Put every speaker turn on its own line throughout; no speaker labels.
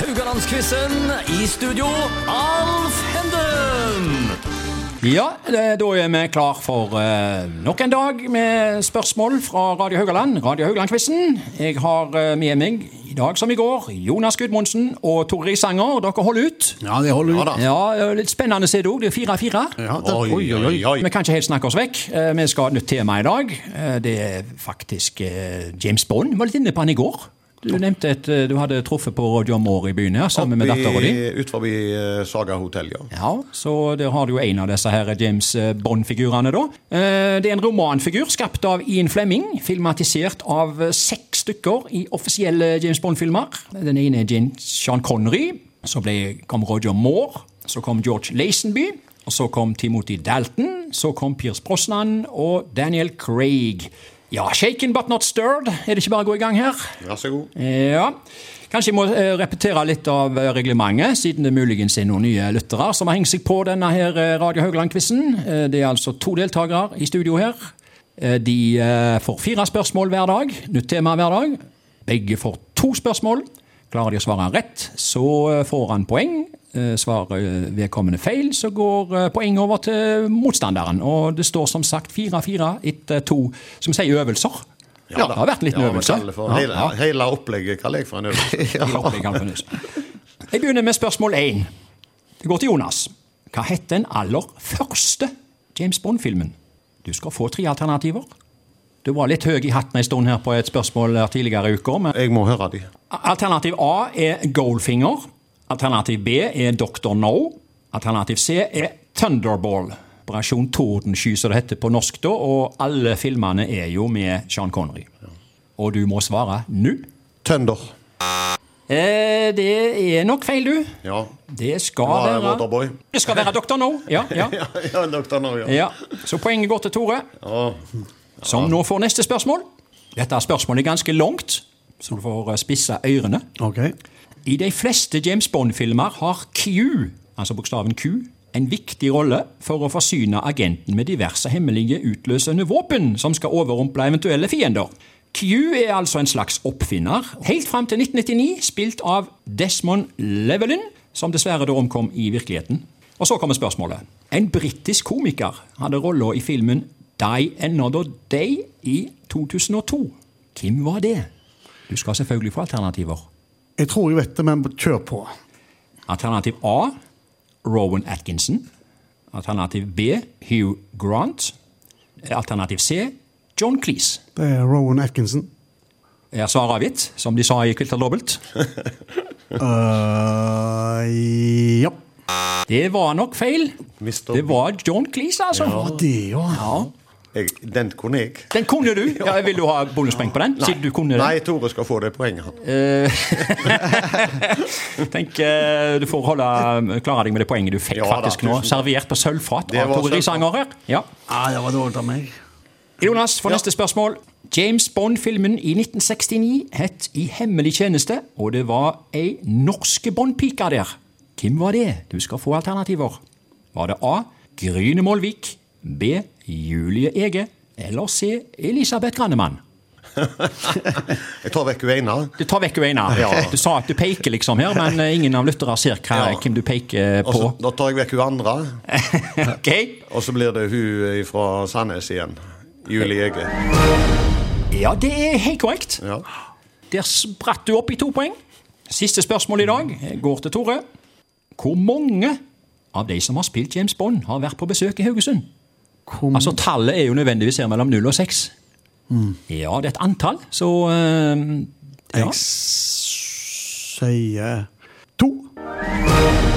Haugalandsquizen. I studio, Alf Henden.
Ja, eh, da er vi klar for eh, nok en dag med spørsmål fra Radio Haugaland. Radio Haugaland-quizen. Jeg har eh, med meg, i dag som i går, Jonas Gudmundsen og Tore Risanger. Dere holder ut.
Ja, det holder ut.
Ja, eh, Litt spennende er det òg. Det er 4-4.
Ja, det, oi, oi, oi.
Vi kan ikke helt snakke oss vekk. Eh, Vi skal ha et nytt tema i dag. Eh, Det er faktisk eh, James Bond. Vi var litt inne på han i går. Du nevnte at eh, du hadde truffet på Roger Moore i byen her, sammen med dattera di.
Ut forbi eh, Saga hotell, ja.
Ja, så der har du jo en av disse her James eh, Bond-figurene, da. Eh, Det er en romanfigur skapt av Ian Fleming, filmatisert av eh, seks stykker i offisielle James Bond-filmer. Den ene er James Sean Connery, så ble, kom Roger Moore, så kom George Lazenby, og så kom Timothy Dalton, så kom Pierce Brosnan og Daniel Craig. Ja, shaken but not stirred. Er det ikke bare å gå i gang her?
Vær så god.
Ja. Kanskje jeg må eh, repetere litt av eh, reglementet, siden det muligens er noen nye lyttere som har hengt seg på denne her eh, Radio Haugland-quizen. Eh, Det er altså to deltakere i studio her. Eh, De eh, får fire spørsmål hver dag, nytt tema hver dag. Begge får to spørsmål. Klarer de å svare rett, så eh, får han poeng. Eh, Svarer eh, vedkommende feil, så går eh, poeng over til motstanderen. Og det står som sagt 4-4 etter to, som sier øvelser.
Ja,
det har vært litt
Ja, vi
øvelser.
kaller det for hele, hele opplegget kaller jeg for en øvelse.
Hele opplegget kan fornyes. Jeg begynner med spørsmål 1. Det går til Jonas. Hva het den aller første James Bond-filmen? Du skal få tre alternativer. Du var litt høy i hatten en stund her på et spørsmål her tidligere i uka. Men
Jeg må høre de.
alternativ A er Goldfinger. Alternativ B er Dr. No. Alternativ C er Thunderball. Operasjon Tordensky, som det heter på norsk da. Og alle filmene er jo med Sean Connery. Og du må svare nå.
Tønder.
Eh, det er nok feil, du.
Ja.
Det skal
Nå har jeg
være
Waterboy.
Det skal være Dr. No. Ja, ja.
Ja, ja, doktor Norge.
ja. Så poenget går til Tore,
Ja.
som nå får neste spørsmål. Dette spørsmålet er ganske langt, så du får eh, spisse ørene.
Ok.
I de fleste James Bond-filmer har Q, altså bokstaven Q, en viktig rolle for å forsyne agenten med diverse hemmelige utløsende våpen som skal overrumple eventuelle fiender. Q er altså en slags oppfinner, helt fram til 1999 spilt av Desmond Llewellyn, som dessverre da omkom i virkeligheten. Og så kommer spørsmålet. En britisk komiker hadde rolla i filmen Die Another Day i 2002. Hvem var det? Du skal selvfølgelig få alternativer.
Jeg tror jeg vet det, men kjør på.
Alternativ A Rowan Atkinson. Alternativ B Hugh Grant. Alternativ C John Cleese.
Det er Rowan Atkinson.
Er svaret avgitt, som de sa i Kvilter dobbelt?
Øh, Eh, ja.
Det var nok feil.
Mister-
Det var John Cleese, altså.
Ja, det, ja.
Jeg, den kunne jeg.
Den kunne du. Ja, vil du ha bonuspoeng på den? Siden du kunne Eh. den.
Nei, Tore skal få det poenget, han.
Tenk, eh, du får holde, klare deg med det poenget du fikk
Ja da,
faktisk nå.
tusen takk.
Servert på sølvfat
Det
av
var
Tore
sølvfat.
Risanger her. Ja.
Ah, det var dårlig av meg.
Jonas, for neste spørsmål. James Bond-filmen i 1969 het I hemmelig tjeneste, og det var ei norske Bond-pike der. Hvem var det? Du skal få alternativer. Var det A. Gryne Molvik, B. Julie Ege, eller C. Elisabeth Grannemann?
Jeg tar vekk Ueina.
Du tar vekk Ueina.
Ja.
Du sa at du peker liksom her, men eh, ingen av lytterne ser hva,
Ja.
hvem du peker
Og
på.
så- Da tar jeg vekk hun andre,
Ok?
og så blir det hun eh, fra Sandnes igjen. Julie Ege.
Ja, det er helt korrekt.
Ja.
Der spratt du opp i to poeng. Siste spørsmål i dag går til Tore. Hvor mange av de som har spilt James Bond, har vært på besøk i Haugesund?
Kom.
Altså, Tallet er jo nødvendigvis her mellom null og seks. Ja, det er et antall, så eh, ja.
Jeg sier to.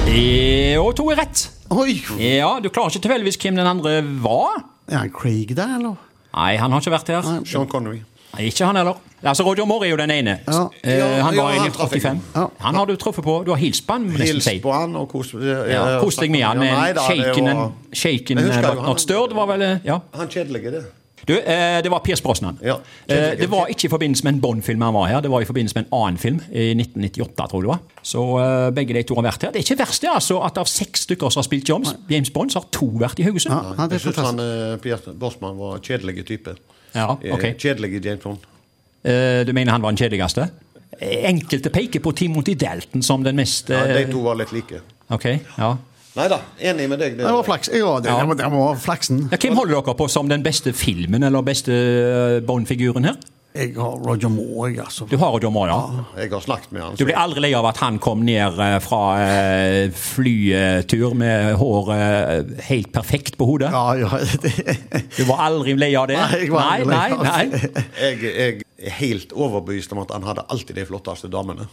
Eh, Og to er rett.
Oi!
Ja, Du klarer ikke tilfeldigvis hvem den andre var?
Er han Craig der, eller?
Nei, han har ikke vært her.
Sean Connery.
Nei, Ikke han heller. Altså, Roger Moore er jo den ene.
Ja.
Eh, han
Ja,
var
ja,
i
han traff jeg.
1985.
Ja.
Han har du truffet på. Du har hilst på han, må jeg nesten
Hils
si.
på han og kos eh,
Ja, Kos deg med han.
nei
men
da, det
Shaken,
var-
shaken
Jeg husker jo
But
han-
Not Stirred var vel eh, Ja.
Han kjedelige, det.
Du, eh, det var Pierce Brosnan.
Ja.
Eh, det var ikke i forbindelse med en Bond-film han var her. Det var i forbindelse med en annen film i 1998, tror jeg det var. Så eh, begge de to har vært her. Det er ikke verst, det, altså, at av seks stykker som har spilt James, James Bond, så har to vært i Haugesund.
Ja, ja, det
Jeg
er
syns han
fantastisk.
eh, Pierre Bossmann var kjedelig type.
Ja,
Eh,
ok.
Kjedelig James Bond.
Eh, du mener han var den kjedeligste? Enkelte peker på Timothy Dalton som den mest
Ja,
eh,
de to var litt like.
Ok, ja.
Nei da, enig med deg. Det.
Det var flaks. Ja, det, det, var, det var flaksen.
ja. Hvem holder dere på som den beste filmen eller beste eh, Bond-figuren her?
Jeg har Roger Moore, jeg, altså.
Du har jo John Moore, ja.
Jeg har snakket med han.
Du blir aldri lei av at han kom ned eh, fra eh, flytur med håret eh, helt perfekt på hodet?
Ja, ja, det,
Du var aldri lei av det?
Nei, jeg var aldri
nei,
lei av
nei, nei.
Jeg, jeg er helt overbevist om at han hadde alltid de flotteste damene.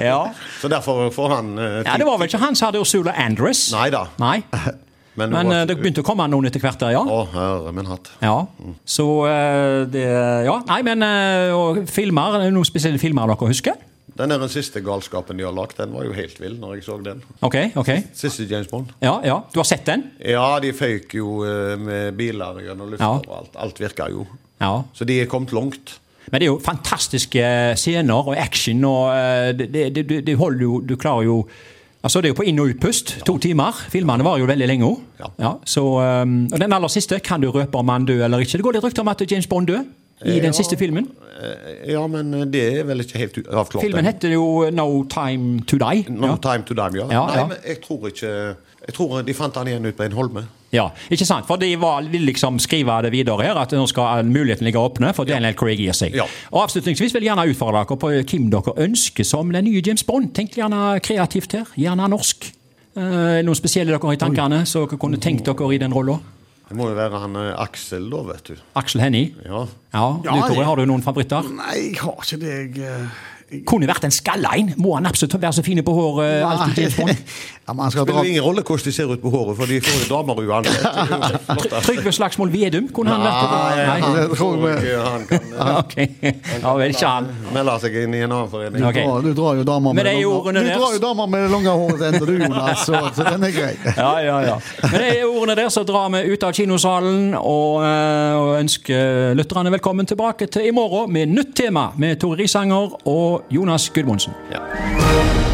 Ja.
Så derfor får han eh,
ja, Det var vel ikke han som hadde Ursula Andress?
Nei da.
Nei.
Men,
Men eh, det
det var-
begynte å komme noen etter hvert der, ja?
Å, herre min hatt.
Ja. Så eh, det Ja, nei, men eh, og filmer, er det noen spesielle filmer dere husker?
Den er den siste galskapen de har lagd. Den var jo helt vill når jeg så den.
Ok, ok.
Siste James Bond.
Ja, ja. Du har sett den?
Ja, de føyk jo eh, med biler gjennom lufta
Ja.
og alt. Alt virka jo.
Ja.
Så de er kommet langt.
Men det er jo fantastiske eh, scener og action, og eh, det, det, det- det holder jo Du klarer jo Altså, det er jo på inn- og utpust. To timer. Filmene varer jo veldig lenge òg.
Ja.
så, eh, og den aller siste, kan du røpe om han dør eller ikke? Det går litt rykter om at James Bond dør i den siste filmen.
Eh, Ja, men eh, det er vel ikke helt u- avklart.
Filmen
ennå.
heter jo eh, No Time To Die.
No
Ja.
Time To Die, ja.
Ja,
Nei,
ja.
men jeg tror ikke Jeg tror de fant han igjen ut på en holme.
Ja, ikke sant? For de var, ville liksom skrive det videre her, at nå skal muligheten ligge åpne for Daniel Craig gir seg.
Ja.
Og Avslutningsvis vil jeg gjerne utfordre dere på eh, hvem dere ønsker som den nye James Bond. Tenk gjerne kreativt her. Gjerne norsk. Eh, noen spesielle dere har i tankene som dere kunne tenkt dere i den rolla?
Det må jo være han eh, Aksel, da, vet du.
Aksel Hennie.
Ja.
Ja, du,
Ja,
Tore,
det-
har du noen favoritter?
Nei, jeg har ikke det. Jeg, eh, jeg,
Kunne vært en skallein. Må han absolutt være så fin på håret? eh, alltid James Bond?
ja, man skal
Spiller
dra
det ingen rolle hvordan de ser ut på håret, for de får jo damer uansett. Det er jo det flotte.
Trygve Slagsvold Vedum? Kunne han vært
han,
det tror
tror
jeg.
ikke han kan eh,
Ok. Ja vel, ikke han.
melde seg inn i en annen forening.
Ok.
dra, Du drar jo damer
Men
med
det er jo
lange-
ordene
Du
deres.
drar jo damer med det lange håret ennå, du, Jonas. Så, så den er grei.
Ja, ja, ja. Med de ordene der så drar vi ut av kinosalen og, eh, og ønsker lytterne velkommen tilbake til i morgen med nytt tema med Tore Risanger og Jonas Gudmundsen.
Ja.